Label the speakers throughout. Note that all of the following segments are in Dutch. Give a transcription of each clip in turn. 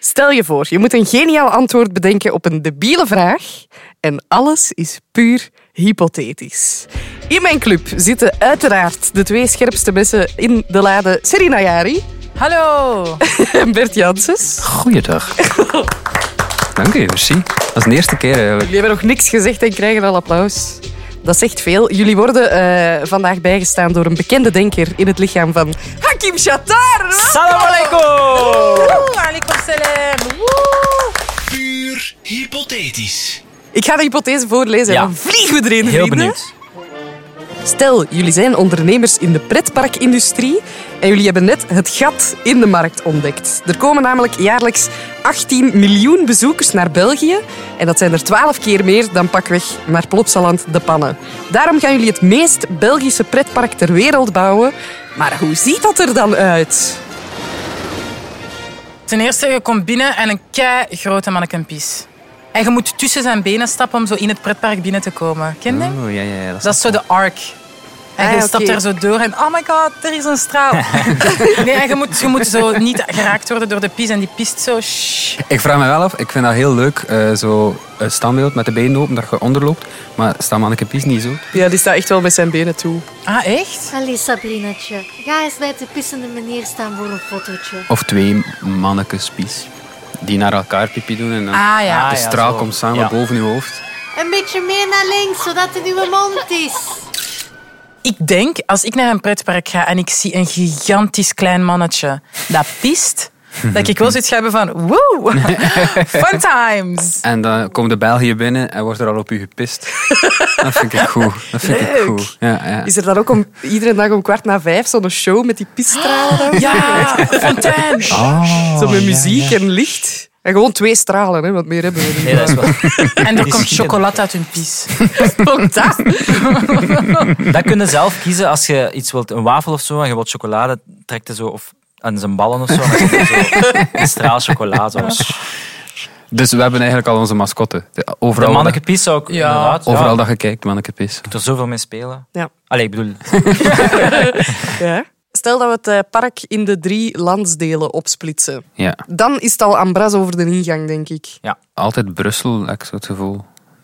Speaker 1: Stel je voor, je moet een geniaal antwoord bedenken op een debiele vraag. En alles is puur hypothetisch. In mijn club zitten uiteraard de twee scherpste messen in de lade Serena Jari
Speaker 2: Hallo.
Speaker 1: en Bert Janssens.
Speaker 3: Goeiedag. Dank u, merci. Dat is de eerste keer eigenlijk.
Speaker 1: Jullie hebben nog niks gezegd en krijgen al applaus. Dat zegt veel. Jullie worden eh, vandaag bijgestaan door een bekende denker in het lichaam van Hakim Shatar.
Speaker 2: Salam alaikum. Alaikum salam. Woe.
Speaker 4: Puur hypothetisch.
Speaker 1: Ik ga de hypothese voorlezen
Speaker 2: Ja.
Speaker 1: en dan vliegen we erin,
Speaker 3: Heel
Speaker 1: vrienden.
Speaker 3: benieuwd.
Speaker 1: Stel, jullie zijn ondernemers in de pretparkindustrie en jullie hebben net het gat in de markt ontdekt. Er komen namelijk jaarlijks 18 miljoen bezoekers naar België en dat zijn er 12 keer meer dan pakweg naar Plopsaland de Pannen. Daarom gaan jullie het meest Belgische pretpark ter wereld bouwen. Maar hoe ziet dat er dan uit?
Speaker 2: Ten eerste, je komt binnen en een kei grote mannenpies. En je moet tussen zijn benen stappen om zo in het pretpark binnen te komen. Ken je? dat?
Speaker 3: Oeh, Oh, ja, ja, ja,
Speaker 2: Dat is zo de arc. En
Speaker 1: Ah,
Speaker 2: je
Speaker 1: oké.
Speaker 2: stapt er zo door en oh my god, er is een straal. nee, en je moet, je moet zo niet geraakt worden door de pies en die pist zo. shh.
Speaker 3: Ik vraag me wel af, ik vind dat heel leuk, eh, zo het standbeeld met de benen open, dat je onderloopt. Maar staat manneke Pies niet zo?
Speaker 1: Ja, die staat echt wel met zijn benen toe.
Speaker 2: Ah, echt?
Speaker 5: Allee, Sabrinatje. Ga eens bij de pissende meneer staan voor een fotootje.
Speaker 3: Of twee mannekes Pies, die naar elkaar pipi doen en dan
Speaker 2: Ah ja.
Speaker 3: de
Speaker 2: Ah,
Speaker 3: straal komt samen
Speaker 6: Ja.
Speaker 3: boven je hoofd.
Speaker 5: Een beetje meer naar links, zodat het uw mond is.
Speaker 2: Ik denk, als ik naar een pretpark ga en ik zie een gigantisch klein mannetje dat pist, dat ik wel zoiets ga hebben van woe, fun times.
Speaker 3: En dan komt de België binnen en wordt er al op u gepist. dat vind ik goed. Dat vind ik
Speaker 1: Leuk.
Speaker 3: goed. Ja, ja.
Speaker 1: Is er dan ook om, iedere dag om kwart na vijf zo'n show met die pisstralen?
Speaker 2: Ja, fontein. Oh,
Speaker 1: zo met muziek en licht. En gewoon twee stralen, hè, want meer hebben we niet.
Speaker 6: Nee, dat is wel.
Speaker 2: En er
Speaker 6: Die
Speaker 2: komt
Speaker 6: schieten.
Speaker 2: chocolade uit hun pies.
Speaker 6: Dat kun je zelf kiezen als je iets wilt, een wafel of zo, en je wilt chocolade, trekt er zo of aan zijn ballen of zo. en dan zit er zo een straal chocola. Zo.
Speaker 3: Dus we hebben eigenlijk al onze mascotte. De-
Speaker 6: De
Speaker 3: Overal,
Speaker 6: mannelijke pies zou ik
Speaker 2: Ja.
Speaker 6: inderdaad.
Speaker 3: overal
Speaker 6: ja,
Speaker 3: dat je kijkt, manneke Pies.
Speaker 6: er zoveel mee spelen.
Speaker 1: Ja.
Speaker 6: Allee, ik bedoel,
Speaker 1: Ja. Stel dat we het eh, park in de drie landsdelen opsplitsen.
Speaker 3: Ja.
Speaker 1: Dan is het al Ambras over de ingang, denk ik.
Speaker 3: altijd Brussel, heb ik zo het gevoel.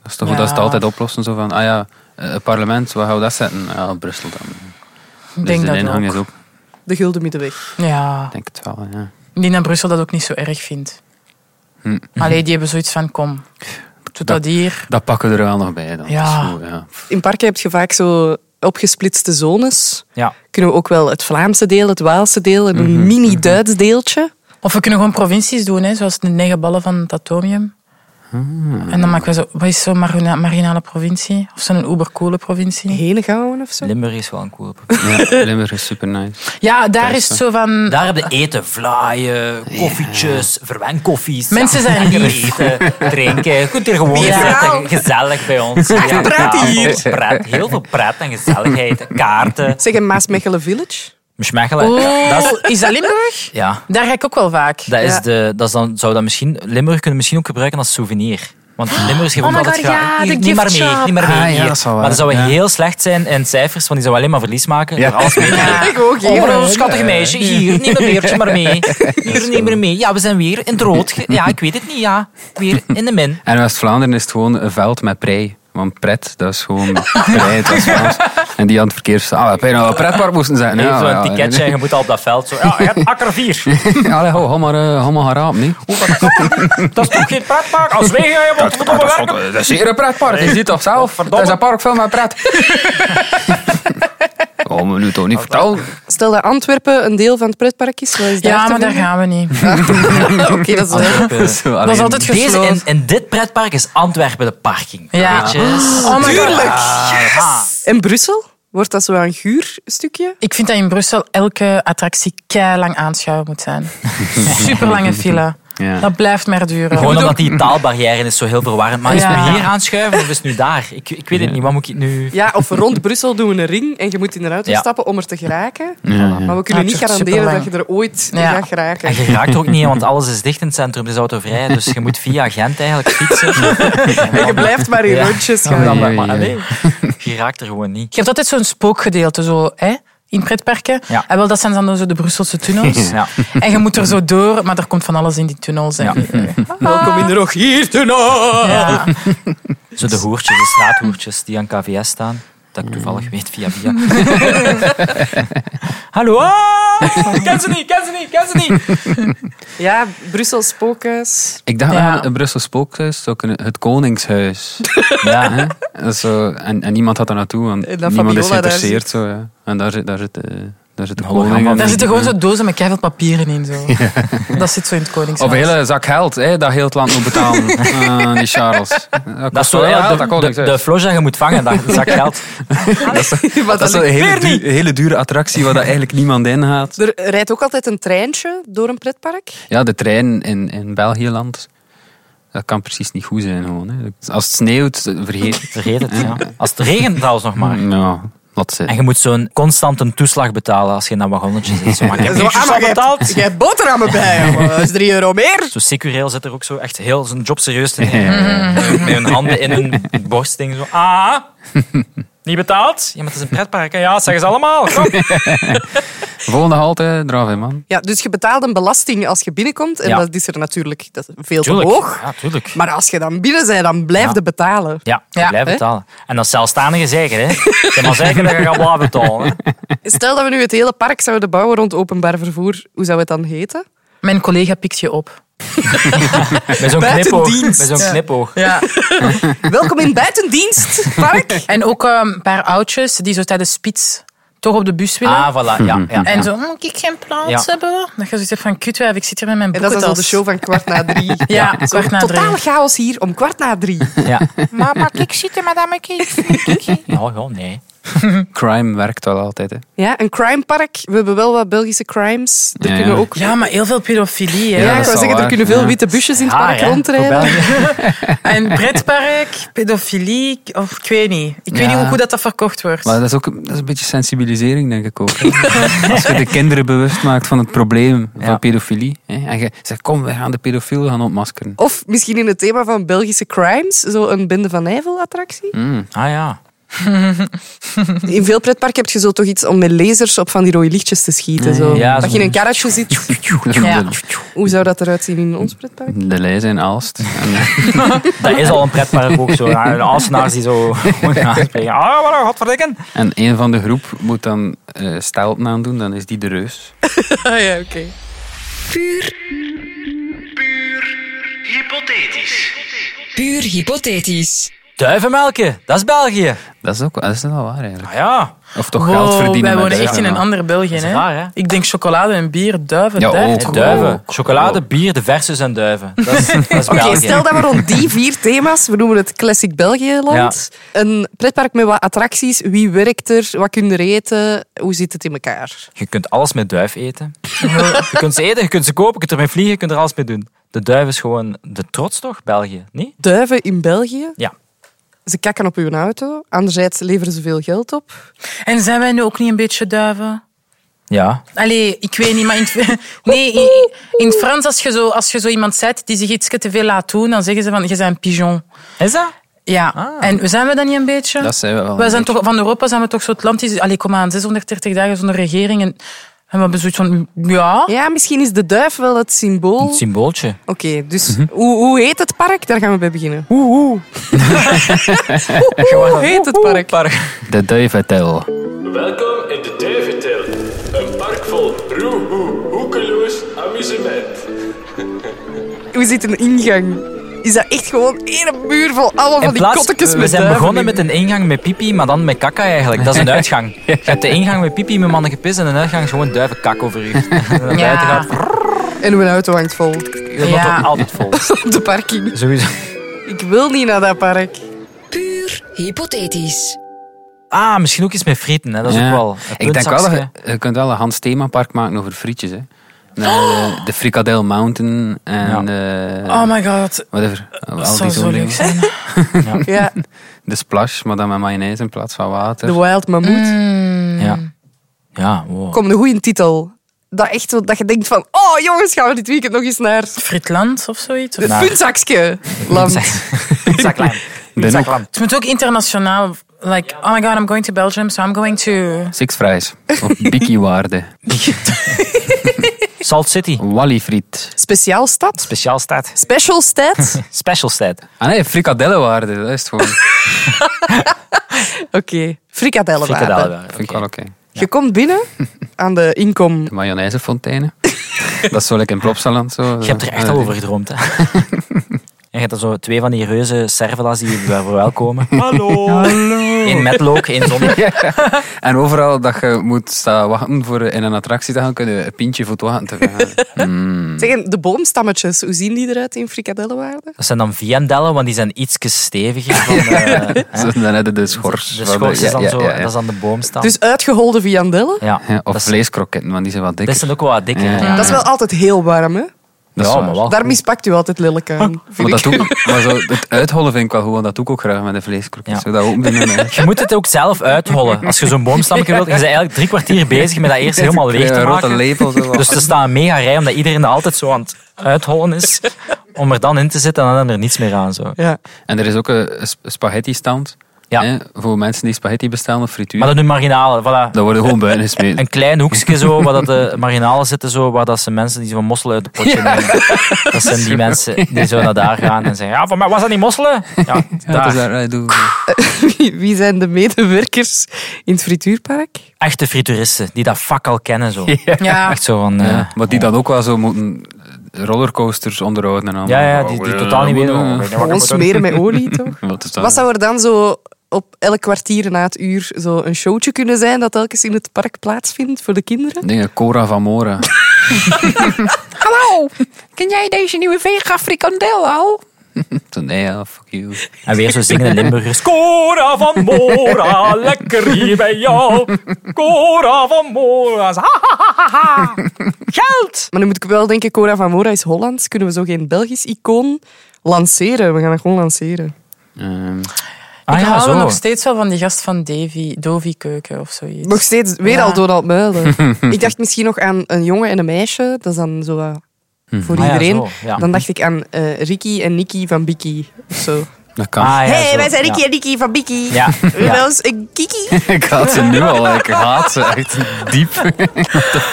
Speaker 3: Dat is toch
Speaker 2: Ja.
Speaker 3: dat ze het altijd oplossen? Zo van, ah ja, eh, het parlement, waar gaan we dat zetten? Ja, Brussel dan.
Speaker 2: Ik
Speaker 3: dus
Speaker 2: denk
Speaker 3: de
Speaker 2: dat
Speaker 3: inhang
Speaker 2: ook.
Speaker 3: is ook, ik
Speaker 1: De Gulden Middenweg.
Speaker 2: Ja,
Speaker 3: denk het wel, ja.
Speaker 2: ik denk dat Brussel dat ook niet zo erg vindt.
Speaker 3: Hm.
Speaker 2: Allee, die hebben zoiets van kom, doe dat hier.
Speaker 3: Dat pakken we er wel nog bij dan.
Speaker 2: Ja.
Speaker 3: Dat is goed, ja.
Speaker 1: In parken heb je vaak zo opgesplitste zones.
Speaker 6: ja.
Speaker 1: Kunnen we ook wel het Vlaamse deel, het Waalse deel en
Speaker 2: Mhm,
Speaker 1: een mini-Duits deeltje.
Speaker 2: Of we kunnen gewoon provincies doen, hè, zoals de negen ballen van het atomium. En dan maken we zo, wat is zo'n marina- marginale provincie? Of zo'n ubercoole provincie?
Speaker 1: Henegouwen of zo.
Speaker 6: Limburg is wel een coole provincie.
Speaker 3: Ja, Limburg is super nice.
Speaker 2: Ja, daar is het zo van...
Speaker 6: Daar heb je eten, vlaaien, koffietjes, verwenkoffies.
Speaker 2: Mensen zijn lief.
Speaker 6: Eten, drinken. Je kunt hier gewoon
Speaker 2: Bier.
Speaker 6: zitten, gezellig bij ons. Ja,
Speaker 1: praat
Speaker 6: ja,
Speaker 1: hier.
Speaker 6: veel pret. heel veel pret en gezelligheid. Kaarten.
Speaker 1: Zeg een Maasmechelen Village.
Speaker 6: Schmechelen. Dat
Speaker 2: Oh,
Speaker 6: is,
Speaker 2: is dat Limburg?
Speaker 6: ja,
Speaker 2: Daar ga ik ook wel vaak.
Speaker 6: dat is
Speaker 1: Ja.
Speaker 6: de, dat is dan, zou dat misschien, Limburg kunnen misschien ook gebruiken als souvenir. Want Limburg geeft
Speaker 2: Oh my
Speaker 6: altijd
Speaker 2: God,
Speaker 6: graag.
Speaker 2: ja,
Speaker 6: hier,
Speaker 2: de
Speaker 6: niet maar mee,
Speaker 2: giftshop.
Speaker 6: niet maar mee.
Speaker 3: Ah, ja,
Speaker 6: hier.
Speaker 3: dat is wel
Speaker 6: maar
Speaker 3: waar,
Speaker 6: dat zou
Speaker 3: ja.
Speaker 6: heel slecht zijn in cijfers, want die zou alleen maar verlies maken.
Speaker 3: Ja.
Speaker 6: door alles mee te
Speaker 2: Ja.
Speaker 1: Ik ook,
Speaker 6: Oh,
Speaker 1: ja.
Speaker 6: een schattig meisje. Hier, neem een beertje maar mee. Hier, neem er mee. Ja, we zijn weer in het rood. ge- Ja, ik weet het niet. Ja, weer in de min.
Speaker 3: En West-Vlaanderen is het gewoon een veld met prei. Want pret, dat is gewoon prei, dat is Vlaams. En die aan het verkeer staan. Ah, we hebben nou een pretpark moesten zijn.
Speaker 6: Even
Speaker 3: Ja,
Speaker 6: een ticketje en je moet al op dat veld. Zo. Ja, je hebt akker 4.
Speaker 3: Allee, ho, hou maar, eh, hou maar geraamd, nee.
Speaker 6: Dat is toch geen pretpark? Als wij gaan, je moet het
Speaker 3: Dat is ook- dat is hier een pretpark. Je ziet toch zelf? Dat is een park veel met pret. Oh, moet nu toch niet vertellen?
Speaker 1: Stel dat Antwerpen een deel van het pretpark is. Wat is
Speaker 2: Ja, maar daar
Speaker 1: te
Speaker 2: gaan we niet.
Speaker 1: vinden? Oké, dat is wel...
Speaker 3: eh,
Speaker 2: Dat is altijd
Speaker 6: Deze in,
Speaker 2: gesloten.
Speaker 6: in dit pretpark is Antwerpen de parking.
Speaker 2: Ja.
Speaker 6: Weet je?
Speaker 2: Oh my god.
Speaker 6: Ah,
Speaker 1: En Brussel? Wordt dat zo een guurstukje?
Speaker 2: Ik vind dat in Brussel elke attractie lang aanschouwen moet zijn. Super lange file.
Speaker 3: Ja.
Speaker 2: Dat blijft maar duren.
Speaker 6: Gewoon omdat die taalbarrière is zo heel verwarrend. Maar is het
Speaker 2: Ja.
Speaker 6: nu hier aanschuiven of is het nu daar? Ik, ik weet het niet. Wat moet ik nu...
Speaker 1: Ja, of rond Brussel doen we een ring en je moet in de auto
Speaker 6: Ja.
Speaker 1: stappen om er te geraken.
Speaker 3: Ja, ja.
Speaker 1: Maar we kunnen
Speaker 2: Ah,
Speaker 1: niet
Speaker 2: het is
Speaker 1: garanderen dat
Speaker 2: superlang.
Speaker 1: je er ooit
Speaker 2: Ja.
Speaker 1: gaat
Speaker 6: En
Speaker 1: geraken.
Speaker 6: je raakt er ook niet in, want alles is dicht in het centrum. Het is autovrij, dus je moet via Gent eigenlijk fietsen.
Speaker 1: En je blijft maar in
Speaker 6: Ja.
Speaker 1: rondjes
Speaker 6: Ja,
Speaker 1: gaan.
Speaker 6: maar-
Speaker 3: ja,
Speaker 6: maar
Speaker 3: ja.
Speaker 6: alleen. Je raakt er gewoon niet.
Speaker 2: Je hebt altijd zo'n spookgedeelte, zo, hè? in pretparken.
Speaker 6: Ja.
Speaker 2: En wel, dat zijn dan zo de Brusselse tunnels.
Speaker 6: Ja.
Speaker 2: En je moet er zo door, maar er komt van alles in die tunnels. En
Speaker 6: Ja.
Speaker 1: Welkom in de Rogiertunnel.
Speaker 2: Ja.
Speaker 6: Zo de hoertjes, de straathoertjes die aan KVS staan. Dat ik toevallig weet via via. Hallo!
Speaker 2: Ken ze niet, ken ze niet, ken ze niet.
Speaker 1: Ja, Brussel spookhuis.
Speaker 3: Ik dacht
Speaker 2: Ja.
Speaker 3: aan een Brussel spookhuis, zou kunnen, het Koningshuis.
Speaker 6: Ja, hè?
Speaker 3: Dat is zo, en, en niemand had daar naartoe, want
Speaker 1: En dat
Speaker 3: niemand is
Speaker 1: Fabiola daar
Speaker 3: geïnteresseerd. Zo, ja. En daar zit, daar zit, eh, daar zit de
Speaker 6: Een hologram
Speaker 3: koning.
Speaker 6: van
Speaker 3: en-
Speaker 2: Daar zitten gewoon zo dozen met keihard papieren in. Zo. Dat zit zo in het
Speaker 3: Of een
Speaker 2: Koningshuis.
Speaker 3: hele zak geld, hè, dat heel het land moet betalen. Eh, die Charles. Dat,
Speaker 6: Dat is zo
Speaker 3: wel
Speaker 6: ja,
Speaker 3: geld,
Speaker 6: de,
Speaker 3: dat
Speaker 6: de,
Speaker 3: Koningshuis.
Speaker 6: de floche dat je moet vangen, dat zak geld.
Speaker 1: Wat
Speaker 3: dat is
Speaker 1: dan
Speaker 3: een
Speaker 1: ook
Speaker 3: hele,
Speaker 1: weer niet.
Speaker 3: duur- hele dure attractie waar dat eigenlijk niemand in gaat.
Speaker 1: Er rijdt ook altijd een treintje door een pretpark.
Speaker 3: Ja, de trein in, in België-land, dat kan precies niet goed zijn. Gewoon, hè. Als het sneeuwt, vergeet
Speaker 6: Vergeet het, ja. Als het regent trouwens nog maar.
Speaker 3: Ja, laat
Speaker 6: En
Speaker 3: zitten.
Speaker 6: je moet zo'n constant een toeslag betalen als je in dat wagonnetje zit. Zo, maar dus ik heb
Speaker 1: Zo,
Speaker 6: niks
Speaker 1: ah, maar jij
Speaker 6: betaald.
Speaker 1: hebt- jij hebt boterhammen bij, jongen. Dat is 3 euro meer.
Speaker 6: Zo secureel zit er ook zo echt heel zijn job serieus te nemen. Met hun handen in hun borstding zo. Ah, niet betaald? Ja, maar het is een pretpark. hè. Ja, dat zeggen ze allemaal. Kom.
Speaker 3: Volgende halte, draf in, man.
Speaker 1: Ja, dus je betaalt een belasting als je binnenkomt. En
Speaker 6: Ja.
Speaker 1: dat is er natuurlijk dat is veel
Speaker 6: Tuurlijk.
Speaker 1: te hoog.
Speaker 6: Ja, tuurlijk.
Speaker 1: Maar als je dan binnen bent, dan blijf
Speaker 6: Ja.
Speaker 1: je betalen.
Speaker 6: Ja, je
Speaker 2: Ja,
Speaker 6: blijft
Speaker 1: hè?
Speaker 6: betalen. En dat is zelfstandige zeker, hè. Je mag zeggen dat je gaat blijven betalen. hè.
Speaker 1: Stel dat we nu het hele park zouden bouwen rond openbaar vervoer. Hoe zou het dan heten?
Speaker 2: Mijn collega pikt je op.
Speaker 6: Met zo'n
Speaker 1: Buiten
Speaker 6: knipoog. Met
Speaker 1: dienst.
Speaker 6: zo'n knipoog.
Speaker 2: Ja.
Speaker 1: Welkom in buitendienst, park.
Speaker 2: En ook eh, een paar oudjes die zo tijdens spits toch op de bus willen.
Speaker 6: Ah, voilà. Ja, ja.
Speaker 2: En zo, moet ik geen plaats
Speaker 6: Ja.
Speaker 2: hebben? Dat je zoiets hebt van, kutwijf, ik zit hier met mijn
Speaker 1: En dat
Speaker 2: boekentas.
Speaker 1: is al de show van kwart na drie.
Speaker 2: Ja, kwart na drie.
Speaker 1: Totaal chaos hier om kwart na drie.
Speaker 6: ja.
Speaker 2: Mama, kijk zitten, madame, kijk.
Speaker 6: Nou, ja, nee.
Speaker 3: Crime werkt wel altijd, hè.
Speaker 1: Ja, een crimepark. We hebben wel wat Belgische crimes. Er
Speaker 3: Ja, ja.
Speaker 1: kunnen ook...
Speaker 2: Ja, maar heel veel pedofilie. Hè.
Speaker 1: Ja,
Speaker 3: dat
Speaker 1: ik wou
Speaker 3: is wel
Speaker 1: zeggen, er
Speaker 3: waar,
Speaker 1: kunnen veel
Speaker 3: ja.
Speaker 1: witte busjes in het
Speaker 6: Haar,
Speaker 1: park
Speaker 6: hè,
Speaker 1: rondrijden.
Speaker 6: voor België.
Speaker 2: En pretpark, pedofilie, of ik weet niet. Ik weet
Speaker 3: Ja.
Speaker 2: niet hoe goed dat, dat verkocht wordt.
Speaker 3: Maar dat is ook dat is een beetje sensibilisering, denk ik ook. Als je de kinderen bewust maakt van het probleem
Speaker 6: Ja.
Speaker 3: van pedofilie. Hè, en je zegt, kom, we gaan de pedofiel gaan ontmaskeren.
Speaker 1: Of misschien in het thema van Belgische crimes, zo een Binde van Nijvel-attractie.
Speaker 6: Ah ja.
Speaker 1: In veel pretparken heb je zo toch iets om met lasers op van die rode lichtjes te schieten. Zo.
Speaker 6: Ja,
Speaker 1: dat
Speaker 6: zo-
Speaker 1: je in een karretje zit.
Speaker 2: Ja.
Speaker 1: Hoe zou dat eruit zien in ons pretpark?
Speaker 3: De lijst in Aalst. En, eh,
Speaker 6: Dat is al een pretpark ook zo. Ja, de Alsenaars die zo gewoon aanspreken. Ah, wat een godverdikken.
Speaker 3: en een van de groep moet dan eh stelten aandoen, dan is die de reus.
Speaker 1: Ah ja, oké.
Speaker 4: Hypothetisch.
Speaker 7: Puur hypothetisch.
Speaker 6: Duivenmelken, dat is België.
Speaker 3: Dat is ook wel- dat is wel waar, eigenlijk.
Speaker 6: Ah ja.
Speaker 3: Of toch
Speaker 2: Wow,
Speaker 3: geld verdienen.
Speaker 2: wij
Speaker 3: met
Speaker 2: wonen echt
Speaker 3: duiven,
Speaker 2: in een
Speaker 3: ja.
Speaker 2: ander België.
Speaker 6: is
Speaker 2: Hè?
Speaker 6: waar, hè?
Speaker 2: Ik denk chocolade en bier, duiven,
Speaker 3: Ja,
Speaker 2: duiven.
Speaker 3: ook.
Speaker 6: En
Speaker 2: toch?
Speaker 6: duiven.
Speaker 3: Wow.
Speaker 6: Chocolade, bier, de versus en duiven. Dat is, dat is
Speaker 1: Oké,
Speaker 6: België.
Speaker 1: stel dat we rond die vier thema's, we noemen het Classic België-land, een pretpark met wat attracties, wie werkt er, wat kunnen er eten, hoe zit het in elkaar?
Speaker 6: Je kunt alles met duif eten. Je kunt ze eten, je kunt ze kopen, je kunt ermee vliegen, je kunt er alles mee doen. De duif is gewoon de trots toch, België? Niet?
Speaker 1: Duiven in België,
Speaker 6: Ja.
Speaker 1: ze kakken op uw auto, anderzijds leveren ze veel geld op.
Speaker 2: En zijn wij nu ook niet een beetje duiven?
Speaker 6: Ja.
Speaker 2: Allee, ik weet niet, maar in het, nee, in, in het Frans, als je, zo, als je zo iemand zet die zich iets te veel laat doen, dan zeggen ze van, je bent een pigeon.
Speaker 6: Is dat?
Speaker 2: Ja, en zijn we dat niet een beetje?
Speaker 3: Dat zijn we wel.
Speaker 2: Wij
Speaker 3: een
Speaker 2: zijn
Speaker 3: beetje.
Speaker 2: toch, van Europa zijn we toch zo Atlantisch. Allee, kom aan, 630 dagen zonder regering. En, en we hebben zoiets van, ja.
Speaker 1: Ja, misschien is de duif wel het symbool.
Speaker 6: Het Mhm. symbooltje.
Speaker 1: Oké, dus hoe, hoe heet het park? Daar gaan we bij beginnen. Hoe, heet het park?
Speaker 3: De duiventel.
Speaker 8: Welkom in de Duiventil, een park vol roehoe, hoekeloos amusement.
Speaker 1: Hoe zit een ingang? Is dat echt gewoon één muur vol alle van
Speaker 6: In
Speaker 1: die
Speaker 6: plaats-
Speaker 1: kottekes
Speaker 6: we
Speaker 1: met
Speaker 6: zijn
Speaker 1: duiven
Speaker 6: begonnen
Speaker 1: in?
Speaker 6: met een ingang met pipi, maar dan met kakka eigenlijk. Dat is een uitgang. Je hebt de ingang met pipi, met mannen gepis en een uitgang is gewoon duivenkak over je. En dan buiten gaat,
Speaker 1: En mijn auto hangt vol
Speaker 6: je wordt
Speaker 2: Ja.
Speaker 6: ook altijd vol.
Speaker 1: op de parking.
Speaker 6: Sowieso.
Speaker 1: Ik wil niet naar dat park.
Speaker 7: Puur hypothetisch.
Speaker 6: Ah, misschien ook iets met frieten, hè. dat is
Speaker 3: Ja.
Speaker 6: ook wel. een
Speaker 3: Ik denk wel dat
Speaker 6: puntzakje.
Speaker 3: je, je kunt wel een Hans Themapark maken over frietjes. Hè. Met, eh, de Frikadel Mountain en eh,
Speaker 2: Oh my god,
Speaker 3: whatever. Al
Speaker 2: dat
Speaker 3: die
Speaker 2: zou
Speaker 3: zo'n
Speaker 2: zo
Speaker 3: dingen.
Speaker 2: leuk zijn.
Speaker 1: Ja,
Speaker 3: De splash, maar dan met mayonaise in plaats van water.
Speaker 1: de Wild Mammoet.
Speaker 3: Mm.
Speaker 6: Ja. Ja, wow.
Speaker 1: Kom, een goede titel. Dat, echt, zo- dat je denkt van, oh jongens, gaan we dit weekend nog eens naar
Speaker 2: Fritland of zoiets. Of-
Speaker 1: het puntzakje land.
Speaker 6: Zaklaan.
Speaker 3: Den Hoek.
Speaker 6: Zaklaan.
Speaker 2: Het moet ook internationaal like, oh my god, I'm going to Belgium, so I'm going to...
Speaker 3: Six Fries. Of Bikiewaarde.
Speaker 6: Salt City.
Speaker 3: Wallyfriet.
Speaker 1: Speciaal stad.
Speaker 6: Speciaal staat.
Speaker 1: Special stad.
Speaker 6: Special staat.
Speaker 3: Ah nee, frikadellenwaarde. Dat is het gewoon.
Speaker 1: Oké. Frikadellenwaarden.
Speaker 6: Frikadellen.
Speaker 3: Vind ik wel oké.
Speaker 1: Je komt binnen aan de inkom.
Speaker 3: De mayonaisefonteinen. dat is zo lekker in Plopsaland. Zo.
Speaker 6: Je hebt er echt al over gedroomd, hè? En je hebt er zo twee van die reuze servela's die je verwelkomen. Hallo. Hallo. Eén met look, één zonder.
Speaker 3: En overal dat je moet staan wachten voor in een attractie te gaan, kun je een pintje voor het wachten te vragen.
Speaker 1: Zeg, de boomstammetjes, hoe zien die eruit in frikadellenwaarde?
Speaker 6: Dat zijn dan viandellen, want die zijn iets steviger. Dan, eh, hè.
Speaker 3: Zo, Dan hebben de
Speaker 6: de
Speaker 3: schors. Wat-
Speaker 6: schors
Speaker 3: ja,
Speaker 6: is dan
Speaker 3: ja,
Speaker 6: zo,
Speaker 3: ja, ja.
Speaker 6: dat is aan de boom staan.
Speaker 1: Dus uitgeholde viandellen.
Speaker 6: ja,
Speaker 3: Ja,
Speaker 6: dat
Speaker 3: of
Speaker 6: is-
Speaker 3: vleeskroketten, want die zijn wat dikker.
Speaker 6: Dat zijn ook wel wat dikker.
Speaker 3: Ja, ja. Oh.
Speaker 1: Dat is wel altijd heel warm, hè?
Speaker 3: Dat is
Speaker 6: Ja,
Speaker 3: waar.
Speaker 6: maar wel.
Speaker 1: Daar mispakt u altijd lelijk aan. vind
Speaker 3: Maar,
Speaker 1: ik.
Speaker 3: dat doe ik- maar zo, het uithollen vind ik wel goed, want dat doe ik ook graag met de vleeskroket.
Speaker 6: Ja.
Speaker 3: Zo dat open doen en-
Speaker 6: Je moet het ook zelf uithollen. Als je zo'n boomstammetje wilt, je bent eigenlijk drie kwartier bezig met dat eerst helemaal
Speaker 3: Een
Speaker 6: leeg te
Speaker 3: rotte
Speaker 6: maken.
Speaker 3: lepel. Zo, wat.
Speaker 6: Dus er staat een mega rij, omdat iedereen er altijd zo aan het uithollen is. Om er dan in te zitten en dan er niets meer aan. Zo.
Speaker 1: Ja.
Speaker 3: En er is ook een spaghetti stand.
Speaker 6: Ja.
Speaker 3: voor mensen die spaghetti bestellen of frituur.
Speaker 6: Maar
Speaker 3: dat...
Speaker 6: dat doen marginalen. Voilà.
Speaker 3: worden gewoon buiten gesmeten.
Speaker 6: Een klein hoekje zo, waar dat de marginalen zitten, zo, waar dat ze mensen die zo'n mosselen uit het potje nemen. Dat zijn die mensen die zo naar daar gaan en zeggen, ja, voor mij was dat niet mosselen? Ja,
Speaker 3: Ja, dat is
Speaker 6: daar.
Speaker 3: waar, ja, doe.
Speaker 1: Wie, wie zijn de medewerkers in het frituurpark?
Speaker 6: Echte frituuristen, die dat vak al kennen. Zo.
Speaker 2: Ja,
Speaker 6: Echt zo van... eh,
Speaker 3: Ja, Maar die dan ook wel zo moeten rollercoasters onderhouden en allemaal.
Speaker 6: ja, ja, die, die totaal niet weten. oh, ik weet niet wat ik
Speaker 1: Gewoon
Speaker 6: moet doen.
Speaker 1: smeren met olie, toch?
Speaker 3: Wat is dat?
Speaker 1: Wat zou er dan zo op elk kwartier na het uur zo een showtje kunnen zijn dat telkens in het park plaatsvindt voor de kinderen?
Speaker 3: Dingen, Cora van Mora.
Speaker 1: Hallo!
Speaker 7: Ken jij deze nieuwe vega frikandel al?
Speaker 3: Zo, nee, ja, fuck you.
Speaker 6: En weer zo zingende Limburgers.
Speaker 9: Cora van Mora, lekker hier bij jou. Cora van Mora, ha,
Speaker 6: Ah,
Speaker 9: ha, ha, ha, ha. Geld!
Speaker 1: Maar nu moet ik wel denken, Cora van Mora is Hollands. Kunnen we zo geen Belgisch icoon lanceren? We gaan het gewoon lanceren.
Speaker 3: Ehm,
Speaker 6: Ah
Speaker 2: ik
Speaker 6: ja,
Speaker 2: hou
Speaker 6: zo.
Speaker 2: nog steeds wel van die gast van Davy, Dovi Keuken of zoiets.
Speaker 1: Nog steeds, weer
Speaker 2: Ja.
Speaker 1: al Donald Muilen. ik dacht misschien nog aan een jongen en een meisje. Dat is dan zo wat voor
Speaker 6: Ah ja,
Speaker 1: iedereen.
Speaker 6: zo, ja.
Speaker 1: Dan dacht ik aan eh, Ricky en Nicky van Bikkie. of Zo.
Speaker 3: dat kan.
Speaker 6: Ah, ja, zo.
Speaker 1: hey, wij zijn
Speaker 6: Ja.
Speaker 1: Ricky en Nicky van Bikkie.
Speaker 6: Ja.
Speaker 1: We
Speaker 6: Ja.
Speaker 1: hebben ons een Kiki.
Speaker 3: ik haat ze nu al. Ik haat ze echt diep.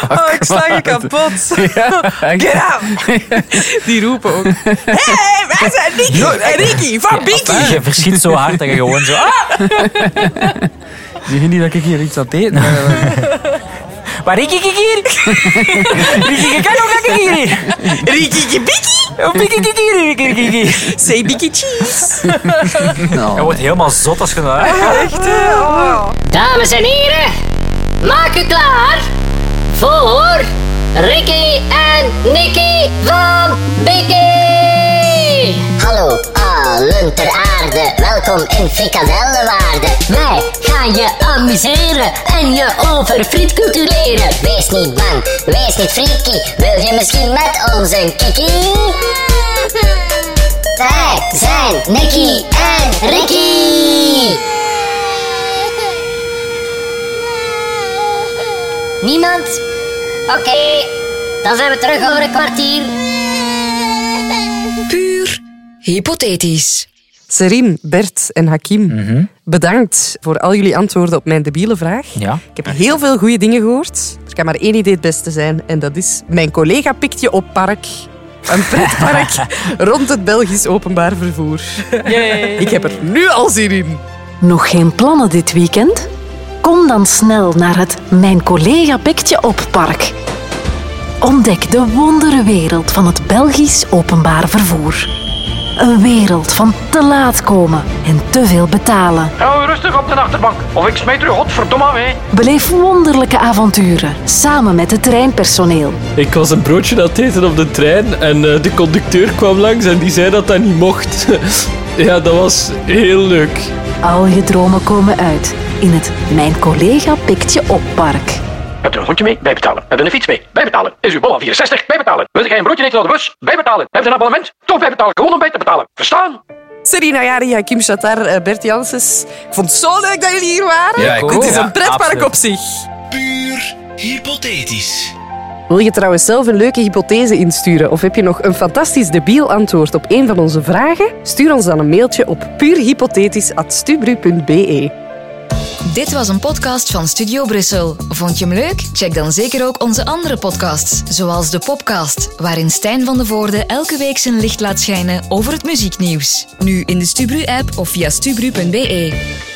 Speaker 1: Oh, ik sla je kapot. Get out. Die roepen ook. hey, wij zijn Nicky en Ricky van Bikkie.
Speaker 6: Je verschiet zo hard dat je gewoon zo... Ah!
Speaker 3: Zeg je niet dat ik hier iets aan deed?
Speaker 6: Maar ik ik ik hier? Rikkie, ik kan ook lekker hier.
Speaker 1: Ricky Bikkie.
Speaker 6: Of ik ik ik hier? Rikkie, Rikkie, Rikkie.
Speaker 1: Say Bikkie cheese.
Speaker 6: Je wordt helemaal zot als je dat...
Speaker 10: Dames en heren, maak u klaar voor Ricky en Nicky van Bikkie! Hallo allen ter aarde, welkom in Frikadellenwaarde. Wij gaan je amuseren en je over friet cultureren. Wees niet bang, wees niet freaky, wil je misschien met ons een kiki? Wij zijn Nicky en Ricky! Niemand? Oké, dan zijn we terug over een kwartier.
Speaker 7: Puur hypothetisch.
Speaker 1: Serim, Bert en Hakim, bedankt voor al jullie antwoorden op mijn debiele vraag.
Speaker 6: Ja.
Speaker 1: Ik heb heel veel goede dingen gehoord. Er kan maar één idee het beste zijn. En dat is, mijn collega pikt je op park. Een pretpark rond het Belgisch openbaar vervoer. Ik heb er nu al zin in.
Speaker 11: Nog geen plannen dit weekend? Kom dan snel naar het Mijn collega pikt je op park. Ontdek de wondere wereld van het Belgisch openbaar vervoer. Een wereld van te laat komen en te veel betalen.
Speaker 9: Hou rustig op de achterbank, of ik smijt u godverdomme mee.
Speaker 11: Beleef wonderlijke avonturen samen met het treinpersoneel.
Speaker 8: Ik was een broodje aan het eten op de trein en eh, de conducteur kwam langs en die zei dat dat niet mocht. ja, dat was heel leuk.
Speaker 11: Al je dromen komen uit in het Mijn collega pikt je op park.
Speaker 9: Hebt u een groentje mee? Bijbetalen. Hebt u een fiets mee? Bijbetalen. Is uw bol al 64? Bijbetalen. Wilt gij een broodje eten aan de bus? Bijbetalen. Hebt u een abonnement? Toch bijbetalen. Gewoon om bij te betalen. Verstaan?
Speaker 1: Serena Jari, Hakim Shatar, eh, Bert Janssens. Ik vond het zo leuk dat jullie hier waren.
Speaker 3: Ja, ik
Speaker 1: Dit
Speaker 3: ook.
Speaker 1: is
Speaker 6: Ja,
Speaker 1: een pretpark
Speaker 6: absoluut.
Speaker 1: op zich.
Speaker 4: Puur hypothetisch.
Speaker 1: Wil je trouwens zelf een leuke hypothese insturen of heb je nog een fantastisch debiel antwoord op een van onze vragen? Stuur ons dan een mailtje op puurhypothetisch.stubru.be.
Speaker 11: Dit was een podcast van Studio Brussel. Vond je hem leuk? Check dan zeker ook onze andere podcasts, zoals de Popcast, waarin Stijn van de Voorde elke week zijn licht laat schijnen over het muzieknieuws. Nu in de Stubru-app of via stubru.be.